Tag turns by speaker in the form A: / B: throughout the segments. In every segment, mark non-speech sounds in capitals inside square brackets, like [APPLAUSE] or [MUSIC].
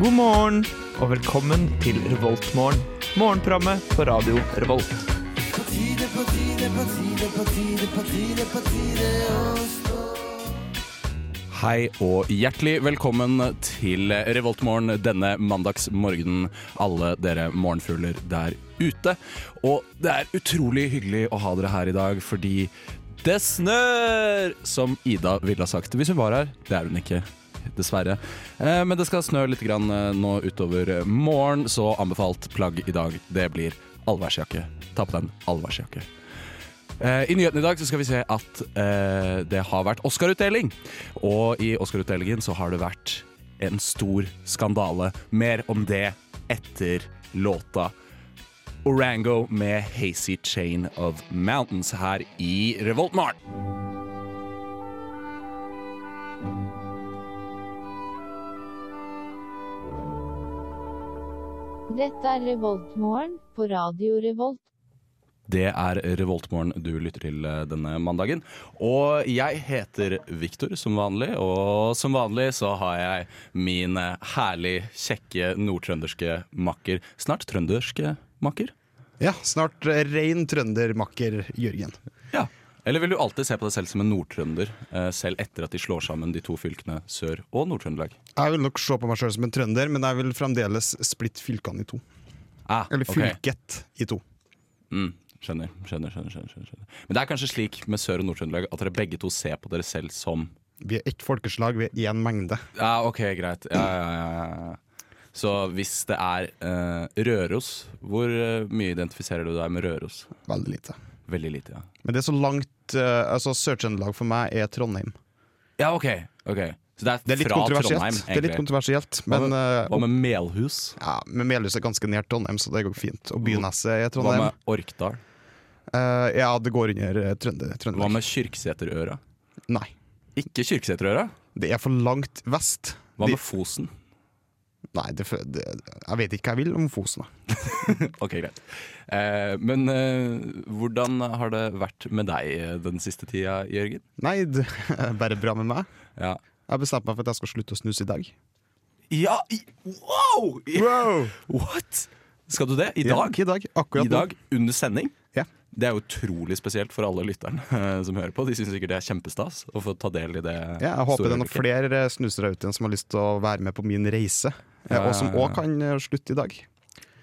A: God morgen og velkommen til Revoltmorgen. Morgenprogrammet på radio Revolt.
B: Hei og hjertelig velkommen til Revoltmorgen denne mandagsmorgenen, alle dere morgenfugler der ute. Og det er utrolig hyggelig å ha dere her i dag, fordi det snør! Som Ida ville ha sagt hvis hun var her. Det er hun ikke. Dessverre. Eh, Men det skal snø litt grann eh, nå utover eh, morgen, så anbefalt plagg i dag. Det blir allværsjakke. Ta på den allværsjakke. Eh, I nyhetene i dag så skal vi se at eh, det har vært Oscar-utdeling. Og i Oscar-utdelingen så har det vært en stor skandale. Mer om det etter låta Orango med Hazy Chain of Mountains her i Revoltmorgen.
C: Dette er Revoltmorgen på Radio Revolt.
B: Det er Revoltmorgen du lytter til eh, denne mandagen. Og jeg heter Viktor som vanlig, og som vanlig så har jeg min eh, herlig kjekke nordtrønderske makker. Snart trønderske makker.
D: Ja, snart eh, rein trøndermakker Jørgen.
B: Ja. Eller vil du alltid se på deg selv som en nordtrønder, eh, selv etter at de slår sammen de to fylkene Sør- og Nord-Trøndelag?
D: Jeg vil nok se på meg sjøl som en trønder, men jeg vil fremdeles splitte fylkene i to.
B: Ah,
D: Eller
B: ok.
D: fylket i to.
B: Mm, skjønner, skjønner, skjønner, skjønner, skjønner. Men det er kanskje slik med Sør- og Nord-Trøndelag at dere begge to ser på dere selv som
D: Vi er ett folkeslag, vi er én mengde.
B: Ja, ok, greit. Ja, ja, ja, ja. Så hvis det er eh, Røros, hvor eh, mye identifiserer du deg med Røros?
D: Veldig lite.
B: Veldig lite, ja.
D: Men det er så langt eh, Altså, Sør-Trøndelag for meg er Trondheim.
B: Ja, ok. ok. Så det er,
D: Det er litt
B: fra Trondheim,
D: kontroversielt,
B: egentlig.
D: det er litt kontroversielt men eh,
B: Hva med Melhus?
D: ja, men Melhus er ganske nært Trondheim, så det går fint. Og Byneset er
B: Hva
D: Trondheim.
B: med Orkdal?
D: Eh, ja, det går under eh, Trønder,
B: Hva
D: Trøndelag.
B: med Kyrksæterøra?
D: Nei.
B: Ikke Kyrksæterøra?
D: Det er for langt vest.
B: Hva
D: De-
B: med Fosen?
D: Nei, det, det, jeg vet ikke hva jeg vil om Fosen. da.
B: Ok, greit. Eh, men eh, hvordan har det vært med deg eh, den siste tida, Jørgen?
D: Nei, [LAUGHS] det er bare bra med meg.
B: Ja.
D: Jeg bestemte meg for at jeg skal slutte å snuse i dag.
B: ja i, wow! I, what? Skal du det? I dag?
D: Ja, I dag, akkurat
B: I dag, under sending?
D: Ja.
B: Det er utrolig spesielt for alle lytterne eh, som hører på. De syns sikkert det er kjempestas å få ta del i det.
D: nå. Ja, jeg håper
B: store
D: det er noen
B: øyeblikket.
D: flere eh, snusere ute igjen som har lyst til å være med på min reise, eh,
B: Ja,
D: og som
B: ja, ja.
D: òg kan eh, slutte i dag.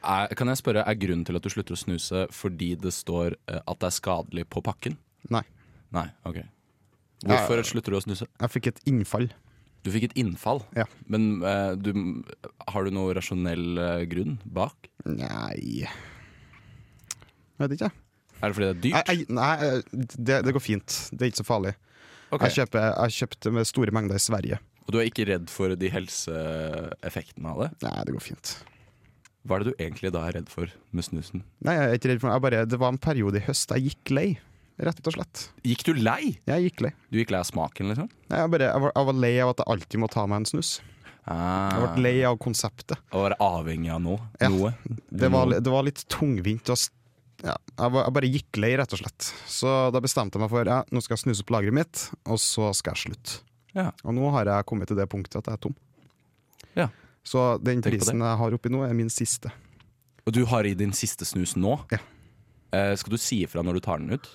B: Er, kan jeg spørre, er grunnen til at du slutter å snuse fordi det står eh, at det er skadelig på pakken?
D: Nei.
B: Nei, ok.
D: Ja,
B: Hvorfor
D: ja.
B: slutter du å snuse?
D: Jeg fikk et innfall.
B: Du fikk et innfall,
D: Ja.
B: men eh, du, har du noe rasjonell eh, grunn bak?
D: Nei Jeg vet ikke.
B: Er det fordi det er
D: Jeg,
B: dyrt?
D: jeg, nei, eh, det, det går fint. Det er ikke så farlig.
B: Ok.
D: Jeg, kjøper, jeg kjøpte med store mengder i Sverige.
B: Og du er ikke redd for de helseeffektene av det?
D: Nei, det går fint.
B: Hva er det du egentlig da er redd for med snusen?
D: Nei, jeg er ikke redd for meg. Jeg bare, det var en periode i høst jeg gikk lei. Rett og slett.
B: Gikk du lei?
D: Jeg gikk lei.
B: Du gikk lei av smaken, liksom?
D: Nei, jeg, bare, jeg, var, jeg var lei av at jeg alltid må ta meg en snus. Jeg
B: Ah.
D: ble lei av konseptet.
B: Å være avhengig av noe?
D: Ja.
B: noe.
D: Det var, det var litt tungvint. Og, s- ja, jeg, var, jeg bare gikk lei, rett og slett. Så da bestemte jeg meg for ja, nå skal jeg snuse opp lageret mitt, og så skal jeg slutte.
B: Ja.
D: Og nå har jeg kommet til det punktet at jeg er tom.
B: Ja.
D: Så den
B: Tenk på
D: prisen jeg har oppi nå, er min siste.
B: Og du har i din siste snus nå?
D: Ja.
B: Eh, skal du si ifra når du tar den ut?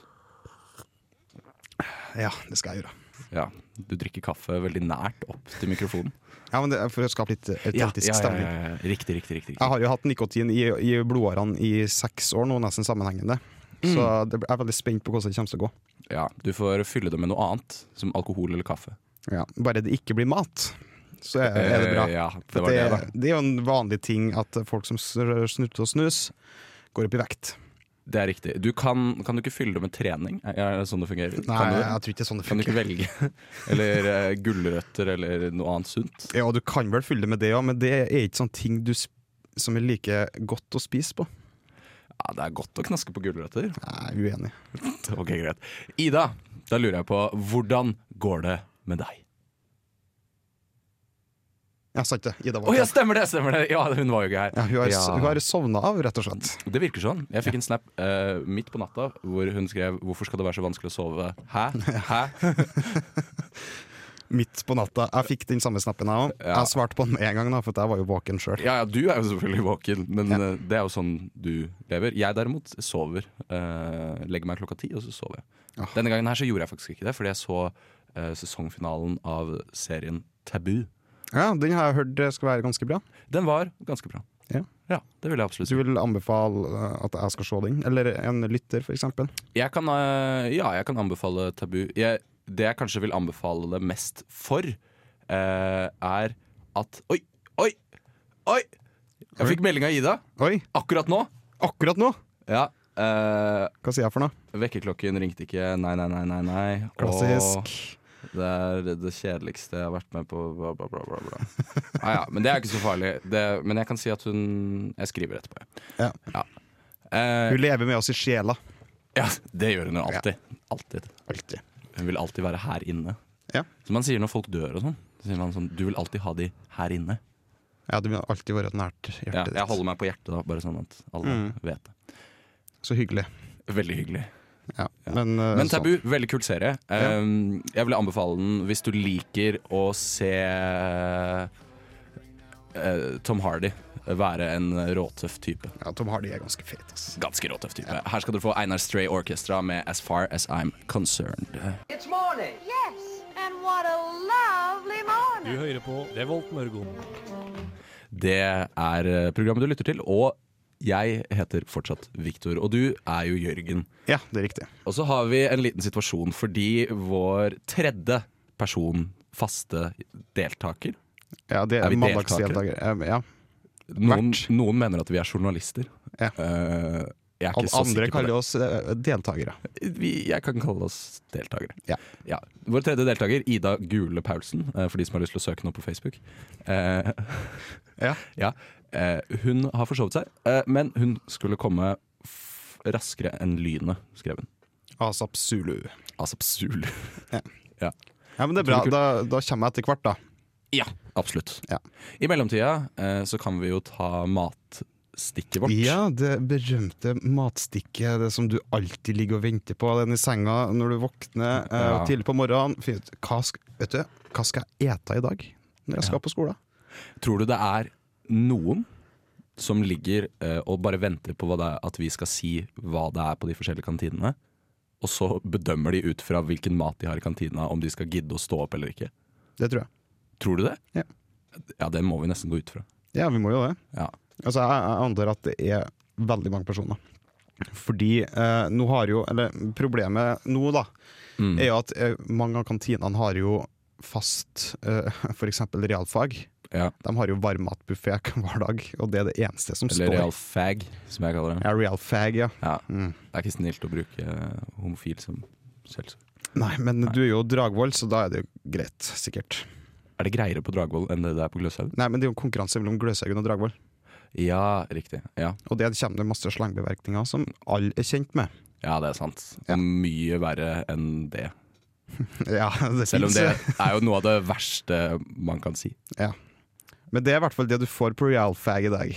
D: Ja, det skal jeg gjøre.
B: Ja. Du drikker kaffe veldig nært opp til mikrofonen.
D: Ja, men det er For å skape [LAUGHS] litt autentisk stemning.
B: ja. Riktig, riktig, riktig. riktig.
D: Jeg har jo hatt nikotin i, i blodårene i seks år nå, nesten sammenhengende.
B: Mm.
D: Så det, jeg er veldig spent på hvordan det kommer til å gå.
B: Ja, du får fylle det med noe annet, som alkohol eller kaffe.
D: Ja. Bare det ikke blir mat, så er, er det bra.
B: Eh, ja, det
D: For
B: var
D: det,
B: det,
D: det,
B: da.
D: er jo en vanlig ting at folk som snur- snurter og snus, går opp i vekt.
B: Det er riktig. Du kan, kan du ikke fylle det med trening? Er det sånn det fungerer?
D: Nei,
B: kan du,
D: jeg tror ikke sånn det
B: kan du
D: funker.
B: ikke velge? [LAUGHS] Eller eh, gulrøtter eller noe annet sunt?
D: Ja, du kan vel fylle det med det òg, men det er ikke sånne ting du sp som er like godt å spise på.
B: Ja, det er godt å knaske på gulrøtter.
D: Jeg er uenig.
B: Ok, greit. Ida, da lurer jeg på hvordan går det med deg?
D: Jeg sa ikke det. Ida
B: Å
D: var
B: ja,
D: ikke her.
B: stemmer det! stemmer det Ja, Hun var jo ikke her.
D: ja, hun har,
B: Ja.
D: hun har sovna av, rett og slett.
B: Det virker sånn. Jeg fikk en snap eh, midt på natta hvor hun skrev 'Hvorfor skal det være så vanskelig å sove?' Hæ? Hæ?
D: midt på natta. Jeg fikk den samme snappen, jeg òg.
B: Ja.
D: Jeg svarte på den én gang, da, for jeg var jo våken sjøl.
B: Ja, ja, du er jo selvfølgelig våken, men
D: Ja.
B: eh, det er jo sånn du lever. Jeg derimot sover. eh, legger meg klokka ti, og så sover jeg.
D: Ah.
B: Denne gangen her så gjorde jeg faktisk ikke det, fordi jeg så eh, sesongfinalen av serien Tabu.
D: Ja, den har jeg hørt skal være ganske bra.
B: Den var ganske bra.
D: Ja.
B: det vil jeg absolutt
D: Så
B: si.
D: du vil anbefale eh, at jeg skal se den? Eller en lytter, for eksempel?
B: Jeg kan, eh, ja, jeg kan anbefale Tabu. Jeg, det jeg kanskje vil anbefale det mest for, eh, er at Oi! Oi! Oi! Jeg fikk melding av Ida
D: Oi,
B: akkurat nå.
D: akkurat nå!
B: Ja. eh,
D: Hva sier jeg for noe?
B: Vekkerklokken ringte ikke. Nei, nei, nei, nei. nei.
D: Klassisk.
B: Og det er det kjedeligste jeg har vært med på. Bla, bla, bla, bla, bla. Ah, ja, men det er ikke så farlig. Det, men jeg kan si at hun Jeg skriver etterpå, jeg.
D: Ja.
B: Eh,
D: Hun lever med oss i sjela.
B: ja, det gjør hun jo alltid. Alltid.
D: Alltid.
B: Hun vil alltid være her inne.
D: Ja.
B: Som man sier når folk dør og sånn. Så sier man sånn Du vil alltid ha de her inne.
D: Ja, det vil alltid være nært hjertet
B: Ja, jeg
D: ditt.
B: holder meg på hjertet, da, bare sånn at alle vet det.
D: Så hyggelig.
B: Veldig hyggelig.
D: Ja. Men, eh,
B: Men
D: sånn.
B: Tabu, veldig kul serie. Um, Jeg vil anbefale den hvis du liker å se eh, Tom Hardy være en råtøff type.
D: Ja, Tom Hardy er ganske fet, ass.
B: Ganske råtøff type. Her skal dere få Einar Stray Orchestra med As Far As I'm Concerned.
E: It's morning.
F: Yes, and what a lovely morning.
G: Du hører på Revolt Mørgon.
B: Det er eh, programmet du lytter til, og jeg heter fortsatt Viktor, og du er jo Jørgen.
D: Ja, det er riktig.
B: Og så har vi en liten situasjon fordi vår tredje person, faste deltaker
D: Ja, det
B: Er
D: er,
B: vi
D: er
B: deltakere?
D: mandagsdeltakere. Eh, Ja.
B: Noen, noen mener at vi er journalister.
D: Ja.
B: Eh, jeg er
D: Al-
B: ikke så
D: Andre
B: sikker på
D: kaller
B: det.
D: oss eh, deltakere.
B: Vi, jeg kan kalle oss deltakere.
D: Ja.
B: Vår tredje deltaker, Ida Gule Paulsen, eh, for de som har lyst til å søke henne opp på Facebook. Eh,
D: Ja.
B: ja. Eh, hun har forsovet seg, eh, men hun skulle komme f raskere enn lynet, skrev hun. Altså,
D: Asap Zulu.
B: Asap Zulu. [LAUGHS]
D: Ja, men det er bra. Da, da kommer jeg etter hvert, da.
B: Ja, absolutt.
D: Ja.
B: I mellomtida eh, så kan vi jo ta matstikket vårt.
D: Ja, det berømte matstikket, det som du alltid ligger og venter på. Den i senga når du våkner eh,
B: Ja.
D: tidlig på morgenen. Fy, Hva, sk- vet du, hva skal jeg ete i dag når jeg skal på skolen?
B: Tror du det er noen som ligger eh, og bare venter på hva det er, at vi skal si hva det er på de forskjellige kantinene? Og så bedømmer de ut fra hvilken mat de har i kantina, om de skal gidde å stå opp eller ikke.
D: Det tror jeg.
B: Tror du det?
D: Ja.
B: Ja, det må vi nesten gå ut fra.
D: Ja, vi må jo det.
B: Ja.
D: Altså, jeg, jeg antar at det er veldig mange personer. Fordi eh, nå har jo Eller problemet nå, da,
B: Mm.
D: er jo at eh, mange av kantinene har jo fast eh, f.eks. realfag.
B: Ja.
D: De har jo varmmatbuffé hver dag, og det er det eneste som
B: Eller
D: står.
B: real fag, som jeg kaller det.
D: Ja, realfag, ja.
B: Ja.
D: Mm.
B: Det er ikke snilt å bruke eh, homofil som skjellsord.
D: Nei, men du er jo Dragvoll, så da er det jo greit, sikkert.
B: Er det greiere på Dragvoll enn det det er på Gløshaugen?
D: Nei, men det er jo en konkurranse mellom Gløshaugen og Dragvoll,
B: Ja, riktig. Ja.
D: og det kommer det masse slangbeverkninger som alle er kjent med. [LAUGHS]
B: ja, det er sant.
D: Ja.
B: Mye verre enn det.
D: Ja, det
B: Selv om
D: finnes,
B: det
D: ja.
B: er jo noe av det verste man kan si.
D: Men det er i hvert fall det du får på realfag i dag.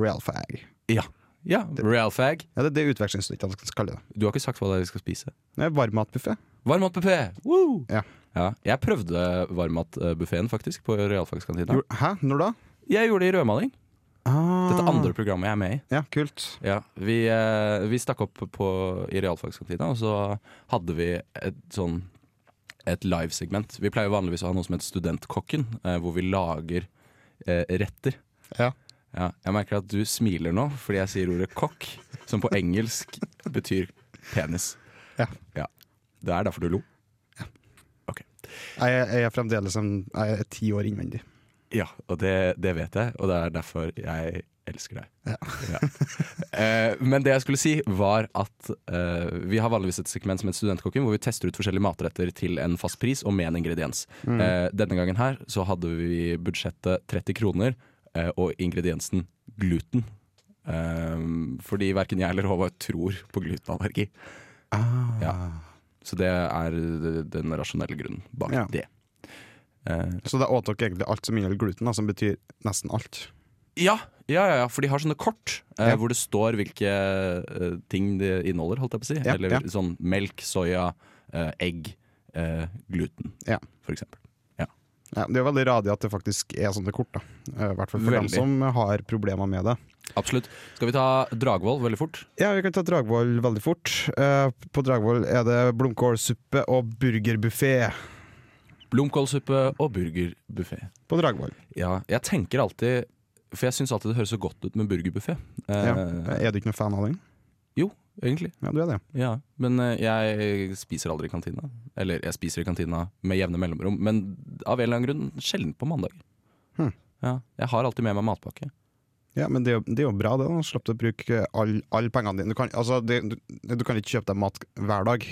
D: Realfag.
B: Ja. ja Realfag.
D: Ja, det er det utvekslingsstudentene skal kalle det.
B: Du har ikke sagt hva det er vi skal spise.
D: Det er Varmmatbuffé.
B: Varmmatbuffé! Woo!
D: Ja.
B: Ja, jeg prøvde varmmatbuffeen faktisk på realfagskantina.
D: Jo- Hæ, når da?
B: Jeg gjorde det i rødmaling.
D: Ah.
B: Dette andre programmet jeg er med i.
D: Ja, kult.
B: Ja, vi, eh, vi stakk opp på, i realfagskantina, og så hadde vi et sånn et livesegment. Vi pleier vanligvis å ha noe som heter Studentkokken, eh, hvor vi lager eh, retter.
D: Ja.
B: Ja, jeg merker at du smiler nå fordi jeg sier ordet kokk, som på engelsk betyr penis.
D: Ja.
B: Det er derfor du lo.
D: Jeg, er- jeg er fremdeles en, jeg er ti år innvendig.
B: Ja, og det, det vet jeg, og det er derfor jeg elsker deg.
D: Ja.
B: Eh, men det jeg skulle si, var at eh, vi har vanligvis et segment som heter Studentkokken, hvor vi tester ut forskjellige matretter til en fast pris og med en ingrediens.
D: Mm.
B: Eh, denne gangen her så hadde vi budsjettet 30 kroner eh, og ingrediensen gluten. Eh, fordi verken jeg eller Håvard tror på glutenallergi.
D: Ah.
B: Ja. Så det er eh, den rasjonelle grunnen bak
D: Ja.
B: det. Eh,
D: Så da åt dere egentlig alt som inneholder gluten, da, som betyr nesten alt.
B: Ja, ja, ja, ja, for de har sånne kort eh,
D: Ja.
B: hvor det står hvilke eh, ting det inneholder, holdt jeg på å si.
D: Ja,
B: Eller
D: ja.
B: sånn melk, soya, eh, egg, eh, gluten,
D: Ja.
B: for eksempel.
D: Ja, det er jo veldig radig at det faktisk er sånne kort. da. I hvert fall for
B: Veldig.
D: dem som har problemer med det.
B: Absolutt. Skal vi ta Dragvoll veldig fort?
D: Ja, Vi kan ta Dragvoll veldig fort. Eh, på Dragvoll er det blomkålsuppe og burgerbuffé.
B: Blomkålsuppe og burgerbuffé.
D: På Dragvoll.
B: Ja, jeg tenker alltid For jeg syns alltid det høres så godt ut med burgerbuffé. Eh,
D: Ja. Er du ikke noen fan av den?
B: Jo, egentlig.
D: Ja, du er det.
B: Ja. Men eh, jeg spiser aldri i kantina. Eller jeg spiser i kantina med jevne mellomrom, men av en eller annen grunn sjelden på mandag.
D: Hm.
B: Ja, jeg har alltid med meg matpakke.
D: Ja, men det er jo, det er jo bra, det. da. Slapp du å bruke alle all pengene dine. Du kan, altså, det, du, du kan ikke kjøpe deg mat hver dag.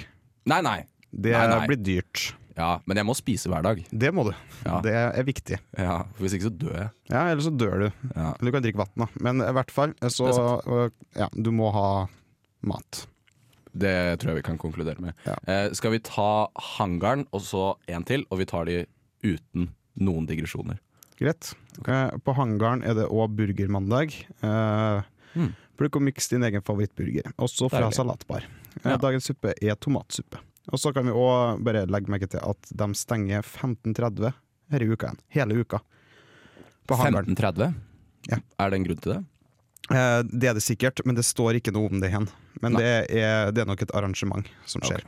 B: Nei, nei!
D: Det
B: Nei, nei.
D: blir dyrt.
B: Ja, men jeg må spise hver dag.
D: Det må du.
B: Ja.
D: Det er viktig.
B: Ja, for Hvis ikke så dør jeg.
D: Ja, Eller så dør du.
B: Ja.
D: Eller du kan drikke vann, da. Men i hvert fall, så
B: Det er
D: øh, ja, du må ha mat.
B: Det tror jeg vi kan konkludere med.
D: Ja.
B: Eh, skal vi ta hangaren og så en til, og vi tar de uten noen digresjoner?
D: Greit. Eh, på hangaren er det òg burgermandag. Eh,
B: Mm.
D: Plukk og miks din egen favorittburger, også fra
B: Deilig.
D: salatbar. Eh,
B: Ja.
D: Dagens suppe er tomatsuppe. Og så kan vi òg bare legge merke til at de stenger 15.30 her i uka igjen. Hele uka. På hangaren.
B: 15.30?
D: Ja.
B: Er det en grunn til det?
D: Eh, det er det sikkert, men det står ikke noe om det igjen. Men
B: Nei.
D: det er, det er nok et arrangement som skjer.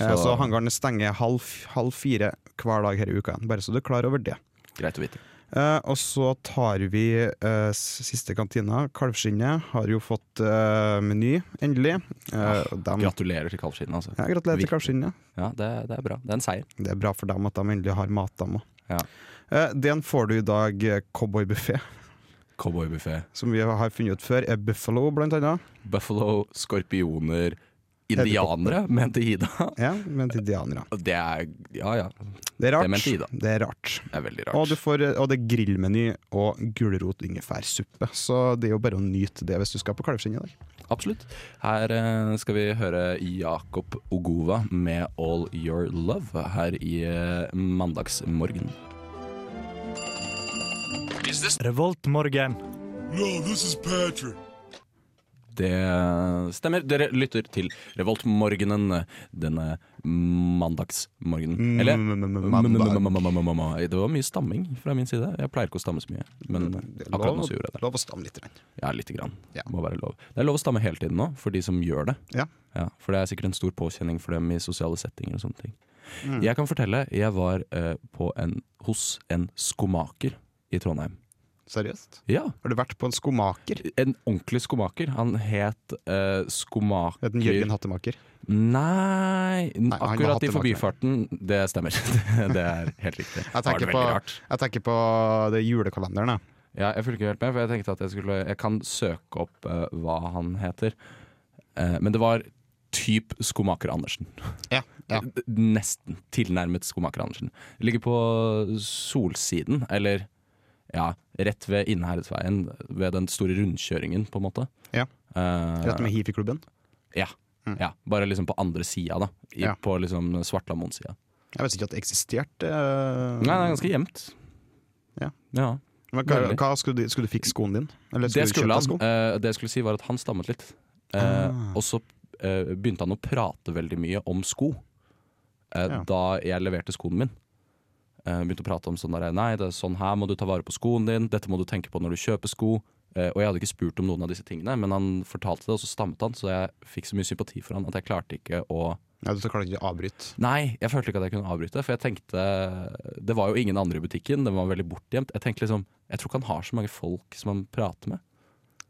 D: Eh,
B: Så-
D: så hangaren stenger halv, halv fire hver dag her i uka igjen, bare så du er klar over det.
B: Greit å vite.
D: Eh, og så tar vi eh, s- siste kantina. Kalvskinnet har jo fått eh, meny, endelig.
B: Ah,
D: Eh, og dem-
B: Gratulerer til kalvskinnet, altså.
D: ja, gratulerer
B: Viktig.
D: til Kalvskinnet.
B: Ja, det, det er bra. Det er en seier.
D: Det er bra for dem at de endelig har mat, dem òg.
B: Ja.
D: Eh, den får du i dag eh, cowboybuffé,
B: Cowboybuffé.
D: [LAUGHS] som vi har funnet ut før. Er Buffalo, blant annet.
B: Buffalo, skorpioner, indianere, mente Ida.
D: Ja, men til indianere.
B: Det er Ja ja,
D: Det er rart.
B: Det mente Ida.
D: Det er rart.
B: det er veldig
D: Og,
B: rart.
D: du får, eh, og det er grillmeny og gulrot-ingefærsuppe. Så det er jo bare å nyte det hvis du skal på Kalvskinnet i dag.
B: Absolutt. Her eh, skal vi høre Jakob Ogova med 'All Your Love' her i eh, mandagsmorgen.
A: Revoltmorgen.
B: Det eh, stemmer. Dere lytter til Revoltmorgenen denne
D: Mm,
B: mandagsmorgenen. Eller mm,
D: Mandag.
B: Det var mye stamming fra min side. Jeg pleier ikke å stamme så mye, men
D: Mm, Det er
B: akkurat
D: lov-
B: nå så gjorde jeg det.
D: Lov å stamme litt. Grann.
B: Ja, lite grann.
D: Ja.
B: Må være lov. Det er lov å stamme hele tiden nå, for de som gjør det.
D: Ja.
B: for det er sikkert en stor påkjenning for dem i sosiale settinger og sånne ting.
D: Mm.
B: Jeg kan fortelle, jeg var eh, på en, hos en skomaker i Trondheim.
D: Seriøst?
B: Ja,
D: Har du vært på en skomaker?
B: en ordentlig skomaker. Han het eh, skomaker
D: Het den Jørgen Hattemaker?
B: Nei,
D: var
B: akkurat i
D: hattemaker.
B: forbifarten. Det stemmer. [LAUGHS] det er helt riktig.
D: Jeg
B: Var det
D: tenker, på,
B: veldig rart.
D: jeg tenker på det julekalenderen. jeg.
B: Ja, jeg fulgte ikke helt med, for jeg tenkte at jeg, skulle, jeg kan søke opp eh, hva han heter. Eh, men det var typ Skomaker Andersen.
D: Ja, ja.
B: D- [LAUGHS] Nesten tilnærmet Skomaker Andersen. Ligger på Solsiden, eller ja, rett ved Innherredsveien, ved den store rundkjøringen, på en måte.
D: Ja.
B: Eh,
D: Rett med hifi-klubben.
B: ja.
D: Mm.
B: ja. Bare liksom på andre sida, da. I,
D: Ja.
B: På liksom Svartlamoen-sida.
D: Jeg visste ikke at det eksisterte. eh,
B: Nei, det er ganske jevnt.
D: Ja.
B: ja.
D: Men hva,
B: veldig.
D: hva skulle, du, skulle du fikse skoen din? Eller
B: Det skulle
D: skulle du kjøpe deg
B: han.
D: sko?
B: Eh, det jeg skulle si var at han stammet litt. Eh,
D: Ah.
B: Og så eh, begynte han å prate veldig mye om sko. Eh,
D: Ja.
B: Da jeg leverte skoen min. Eh, begynte å prate om sånn der, Nei, det er sånn her må du ta vare på skoen din. Dette må du tenke på når du kjøper sko. Eh, og jeg hadde ikke spurt om noen av disse tingene, men han fortalte det, og så stammet han. Så jeg fikk så mye sympati for han at jeg klarte ikke å
D: Nei, du klarte ikke å avbryte.
B: Nei, jeg følte ikke at jeg kunne avbryte, for jeg tenkte Det var jo ingen andre i butikken, den var veldig bortgjemt. Jeg tenkte liksom Jeg tror ikke han har så mange folk som han prater med.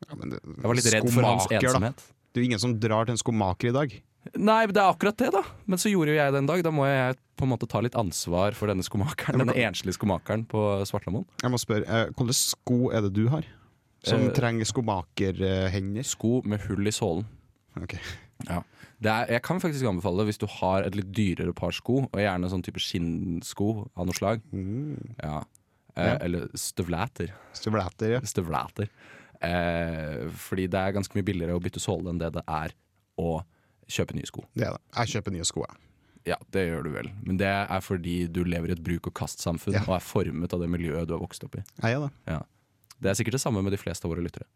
D: Ja, men det-
B: Jeg var litt redd for hans
D: skomaker, da.
B: ensomhet.
D: Det er jo ingen som drar til en skomaker i dag.
B: Nei, men det er akkurat det, da. Men så gjorde jo jeg det en dag. Da må jeg på en måte ta litt ansvar for denne skomakeren. Denne enslige skomakeren på Svartlamoen.
D: Jeg må spørre, eh, Hvilke sko er det du har? Som
B: Eh,
D: trenger skomakerhender?
B: Sko med hull i sålen.
D: Ok. [LAUGHS]
B: Ja. Det er, jeg kan faktisk anbefale det hvis du har et litt dyrere par sko, og gjerne sånn type skinnsko av noe slag. Mm. Ja. Eh,
D: Ja.
B: Eller [LAUGHS] støvleter.
D: Støvletter, ja.
B: støvleter. Eh, fordi det er ganske mye billigere å bytte såle enn det det er å kjøpe nye sko.
D: Det er det. Jeg kjøper nye sko, jeg.
B: Ja, det gjør du vel. Men det er fordi du lever i et bruk og kast-samfunn
D: Ja.
B: og er formet av det miljøet du har vokst opp i.
D: Jeg er det.
B: Ja. Det er sikkert det samme med de fleste av våre lyttere.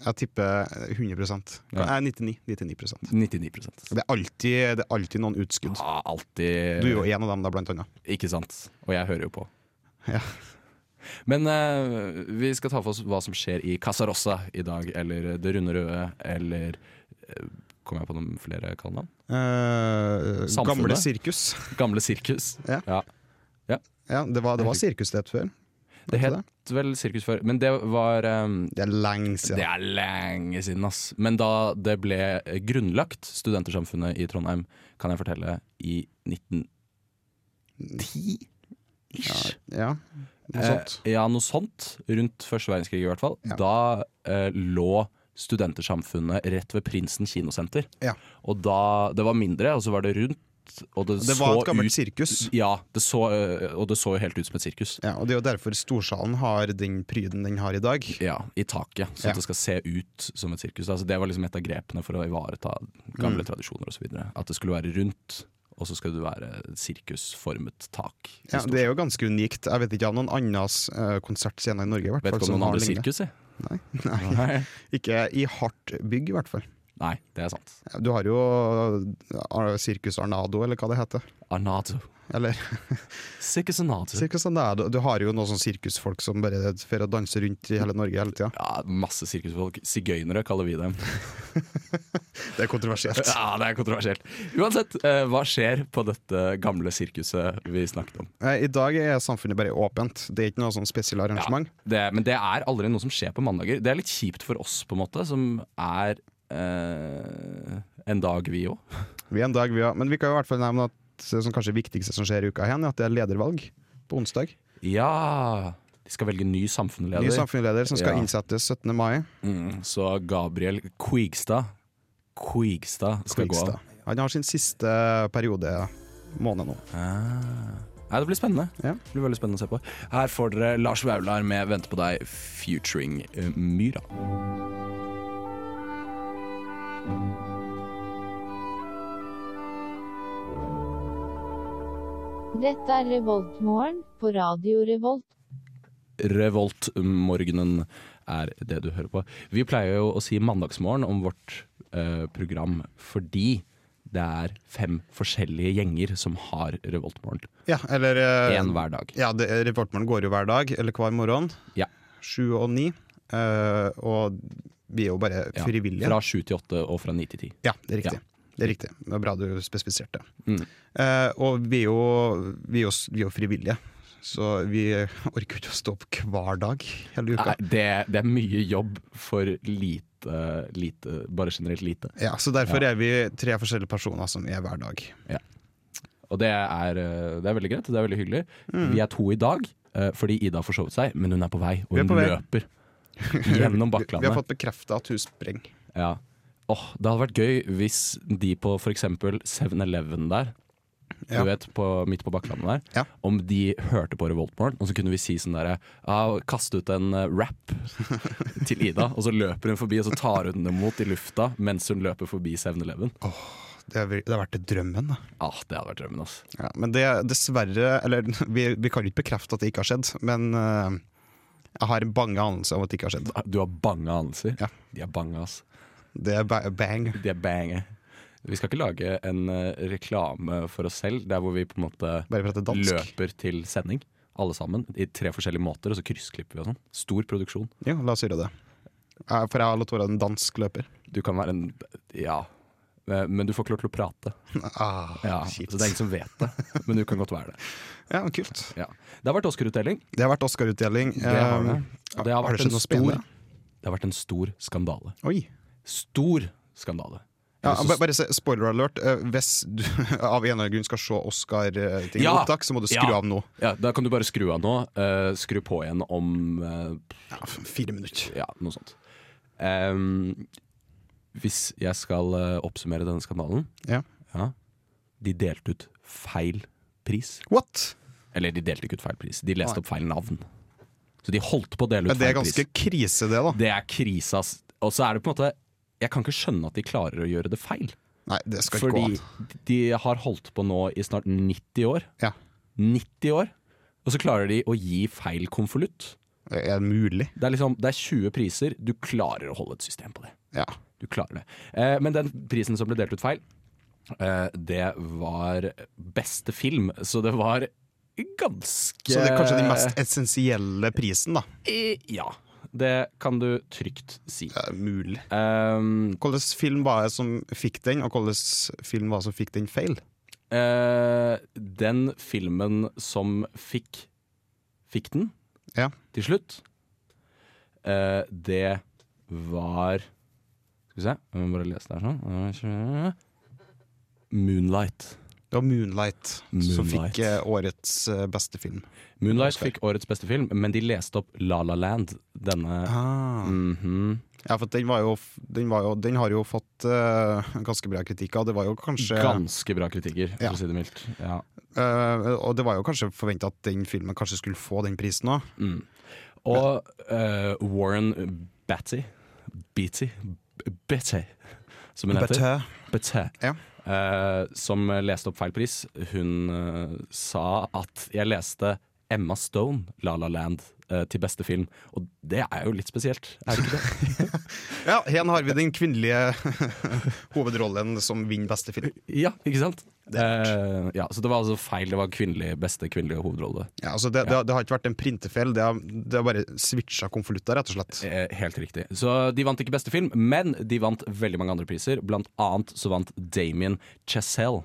D: Jeg tipper 100
B: Ja.
D: Nei, 99, 99
B: 99
D: Det er alltid, det er alltid noen utskudd.
B: Ja, alltid
D: Du er jo en av dem, da, blant annet.
B: Ikke sant. Og jeg hører jo på.
D: Ja.
B: Men eh, vi skal ta for oss hva som skjer i Casarossa i dag, eller Det runde røde, eller eh, Kommer jeg på noen flere kallenavn?
D: Eh,
B: Samfunnet.
D: gamle sirkus.
B: Gamle sirkus.
D: Ja. Ja, det var, det var sirkus det het før.
B: Det het vel sirkus før, men det var eh,
D: Det er lenge
B: Det
D: siden.
B: er lenge siden, ass. Men da det ble grunnlagt, Studentersamfunnet i Trondheim, kan jeg fortelle, i 1910-ish.
D: Ja, noe sånt.
B: Eh, ja, noe sånt. Rundt første verdenskrig, i hvert fall.
D: Ja.
B: Da eh, lå Studentersamfunnet rett ved Prinsen kinosenter.
D: Ja.
B: Og da Det var mindre, og så var det rundt. Og det,
D: Det
B: så
D: var et gammelt
B: ut,
D: sirkus.
B: Ja, det så, eh, og det så jo helt ut som et sirkus.
D: Ja, og Det er jo derfor Storsalen har den pryden den har i dag.
B: Ja, I taket, så
D: Ja.
B: at det skal se ut som et sirkus. Altså, det var liksom et av grepene for å ivareta
D: Mm.
B: gamle tradisjoner osv. At det skulle være rundt, og så skal det være sirkusformet tak. i
D: Ja,
B: stort.
D: det er jo ganske unikt. Jeg vet ikke om noen annens uh, konsertscene i Norge. I hvert
B: Vet
D: fall,
B: ikke om
D: som
B: noen
D: har
B: andre
D: lignende.
B: sirkus, jeg.
D: Nei, nei.
B: Nei.
D: Ikke i hardt bygg, i hvert fall.
B: Nei, det er sant.
D: Du har jo eh, Sirkus Arnado, eller hva det heter.
B: Arnado.
D: Eller
B: Sirkus Arnado.
D: Sirkus Arnado. Du har jo noen sånn sirkusfolk som bare fer og danser rundt i hele Norge hele tida.
B: Ja, masse sirkusfolk. Sigøynere kaller vi dem.
D: Det er kontroversielt.
B: Ja, Det er kontroversielt. Uansett, eh, hva skjer på dette gamle sirkuset vi snakket om?
D: Eh, I dag er samfunnet bare åpent. Det er ikke noe sånn spesielt arrangement.
B: Det, men det er aldri noe som skjer på mandager. Det er litt kjipt for oss, på en måte, som er eh, en dag, vi òg.
D: Vi er en dag, vi har, men vi kan jo i hvert fall nevne at det som kanskje viktigste som skjer i uka igjen, er at det er ledervalg på onsdag.
B: Ja! De skal velge ny samfunnsleder.
D: Ny samfunnsleder som skal
B: Ja.
D: innsettes 17. mai.
B: mm, så Gabriel Quigstad Quigstad skal
D: Kvikstad.
B: gå.
D: Han har sin siste periode måned nå.
B: Ah. Nei, det blir spennende.
D: Ja.
B: Det blir veldig spennende å se på. Her får dere Lars Vaular med 'Vente på deg', featuring eh, Myra.
C: Dette er Revoltmorgen på Radio Revolt.
B: Revoltmorgenen er det du hører på. Vi pleier jo å si mandagsmorgen om vårt eh, program fordi det er fem forskjellige gjenger som har revoltmorgen.
D: Ja, eller eh,
B: Én hver dag.
D: Ja, det- Reportmorgen går jo hver dag, eller hver morgen.
B: Ja.
D: Sju og ni. Eh, og vi er jo bare
B: Ja.
D: frivillige.
B: Fra sju til åtte og fra ni til ti.
D: Ja, det er riktig.
B: Ja.
D: Det er riktig. Det er bra du spesifiserte.
B: Mm.
D: Eh, og vi er, jo, vi, er jo, vi er jo frivillige, så vi orker ikke å stå opp hver dag hele uka.
B: Nei, Det, det er mye jobb for lite, lite Bare generelt lite.
D: Ja, så derfor er vi tre forskjellige personer som er hver dag.
B: Og det er, eh, det er veldig greit, og det er veldig hyggelig.
D: Mm.
B: Vi er to i dag eh, fordi Ida har forsovet seg, men hun er på vei, og
D: Vi er
B: hun
D: på vei.
B: løper
D: [LAUGHS]
B: gjennom
D: Vi, vi har
B: Bakklandet.
D: fått bekrefta at hun sprenger.
B: Ja. Åh, det hadde vært gøy hvis de på f.eks. 7-Eleven der,
D: Ja.
B: du vet, på, midt på Bakklandet der,
D: Ja.
B: om de hørte på Revoltmorgen, og så kunne vi si sånn derre ah, Kaste ut en eh,
D: [LAUGHS]
B: rap til Ida, og så løper hun forbi, og så tar hun den imot i lufta mens hun løper forbi 7-Eleven.
D: Det, har vi- det har vært drømmen, da.
B: Ah, det hadde vært drømmen, altså.
D: Ja, men det dessverre Eller [LAUGHS] vi, vi kan jo ikke bekrefte at det ikke har skjedd, men eh, jeg har en bange anelse om at det ikke har skjedd.
B: Du har bange anelser.
D: Ja.
B: De er bange, ass.
D: Det er ba bang.
B: De er bange. Vi skal ikke lage en eh, reklame for oss selv der hvor vi på en måte
D: Bare for at det er dansk.
B: løper til sending, alle sammen, i tre forskjellige måter, og så kryssklipper vi og sånn. Stor produksjon.
D: Jo, la oss gjøre det. Eh, For jeg har lov til å være en dansk løper.
B: Du kan være en Ja. Eh, Men du får ikke lov til å prate.
D: Ah,
B: [LAUGHS] Ja, så
D: kjipt.
B: det er ingen som vet det. Men du kan godt være det.
D: Ja, men kult.
B: Ja. Det har vært Oscar-utdeling.
D: Det har vært Oscar-utdeling.
B: Det har det.
D: Eh,
B: Og det har vært
D: skjedd
B: en
D: noe
B: stor
D: spennende?
B: Det har vært en stor skandale.
D: Oi.
B: Stor skandale.
D: Ja,
B: Eller så-
D: ba- bare se- spoiler alert. eh, Hvis du [LAUGHS] av en eller annen grunn skal se Oscar-ting
B: Ja.
D: i opptak, så må du skru
B: Ja.
D: av nå.
B: ja, da kan du bare skru av nå. eh, skru på igjen om eh,
D: Ja, f- fire minutter.
B: Ja, noe sånt. Ehm, hvis jeg skal eh, oppsummere denne skandalen
D: Ja.
B: De delte ut feil pris.
D: What?
B: Eller de delte ikke ut feil pris, de leste opp feil navn. Så de holdt på å dele
D: Ja,
B: ut
D: det er
B: feil
D: ganske
B: pris.
D: krise, det, da.
B: Det er krisa. ass. Og så er det på en måte Jeg kan ikke skjønne at de klarer å gjøre det feil.
D: Nei, det skal ikke gå
B: Fordi
D: an.
B: de har holdt på nå i snart 90 år.
D: Ja.
B: 90 år! Og så klarer de å gi feil konvolutt.
D: Det er mulig.
B: Det er liksom, det er 20 priser. Du klarer å holde et system på det.
D: Ja.
B: Du klarer det. Eh, men den prisen som ble delt ut feil, eh, det var beste film. Så det var ganske
D: Så det er kanskje den mest essensielle prisen, da.
B: Eh, Ja. Det kan du trygt si.
D: Det er mulig.
B: Um,
D: Hvilken film var det som fikk den, og hvilken film var det som fikk den feil?
B: eh, den filmen som fikk Fikk den
D: Ja.
B: til slutt, eh, det var Skal vi se, jeg må bare lese det her sånn. Moonlight.
D: Det var 'Moonlight', som
B: Moonlight.
D: fikk eh, årets eh, beste film.
B: Moonlight fikk årets beste film, men de leste opp La La Land. Denne Mhm.
D: Mm. Ja, for den, var jo, f- den, var jo, den har jo fått eh, ganske bra kritikk, og det var jo kanskje
B: Ganske bra kritikker, for
D: Ja.
B: å si det mildt. Ja.
D: eh, Og det var jo kanskje forventa at den filmen kanskje skulle få den prisen òg.
B: Mm. Og eh, Warren Batty Beatty B- Betty, som hun heter. Betty.
D: Ja.
B: Eh, som leste opp feil pris. Hun eh, sa at jeg leste Emma Stone, La La Land, eh, til beste film. Og det er jo litt spesielt, er det ikke det?
D: [LAUGHS] Ja, her har vi den kvinnelige [LAUGHS] hovedrollen som vinner beste film.
B: ja, ikke sant?
D: Det er
B: Eh, ja, så det var altså feil. Det var kvinnelig, beste kvinnelige hovedrolle.
D: Ja, altså det, det, det har ikke vært en printefeil, det har, det har bare switcha konvolutter, rett og slett.
B: Eh, Helt riktig. Så de vant ikke beste film, men de vant veldig mange andre priser. Blant annet så vant Damien Chazelle,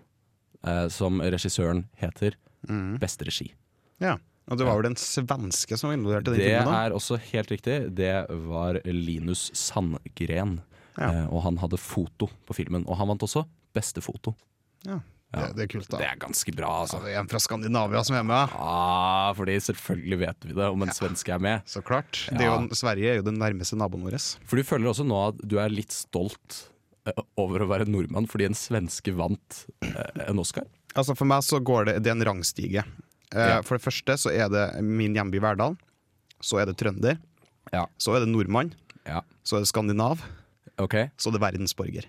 B: eh, som regissøren heter,
D: Mm.
B: beste regi.
D: Ja. Og det var vel den svenske som var involvert i den
B: Det
D: filmen? da?
B: er også helt riktig. Det var Linus Sandgren.
D: Ja.
B: Eh, og han hadde foto på filmen. Og han vant også beste foto.
D: Ja. Det, det er kult, da.
B: Det er ganske bra,
D: Så
B: altså.
D: det er en fra Skandinavia som er med.
B: Ah, fordi selvfølgelig vet vi det om en svenske er med.
D: Så klart. Det er jo, Sverige er jo den nærmeste naboen vår.
B: For du føler også nå at du er litt stolt eh, over å være nordmann fordi en svenske vant eh, en Oscar.
D: Altså For meg så går det, det er en rangstige. Eh,
B: Ja.
D: For det første så er det min hjemby Verdal. Så er det trønder.
B: Ja.
D: Så er det nordmann.
B: Ja,
D: Så er det skandinav.
B: ok,
D: Så er det verdensborger.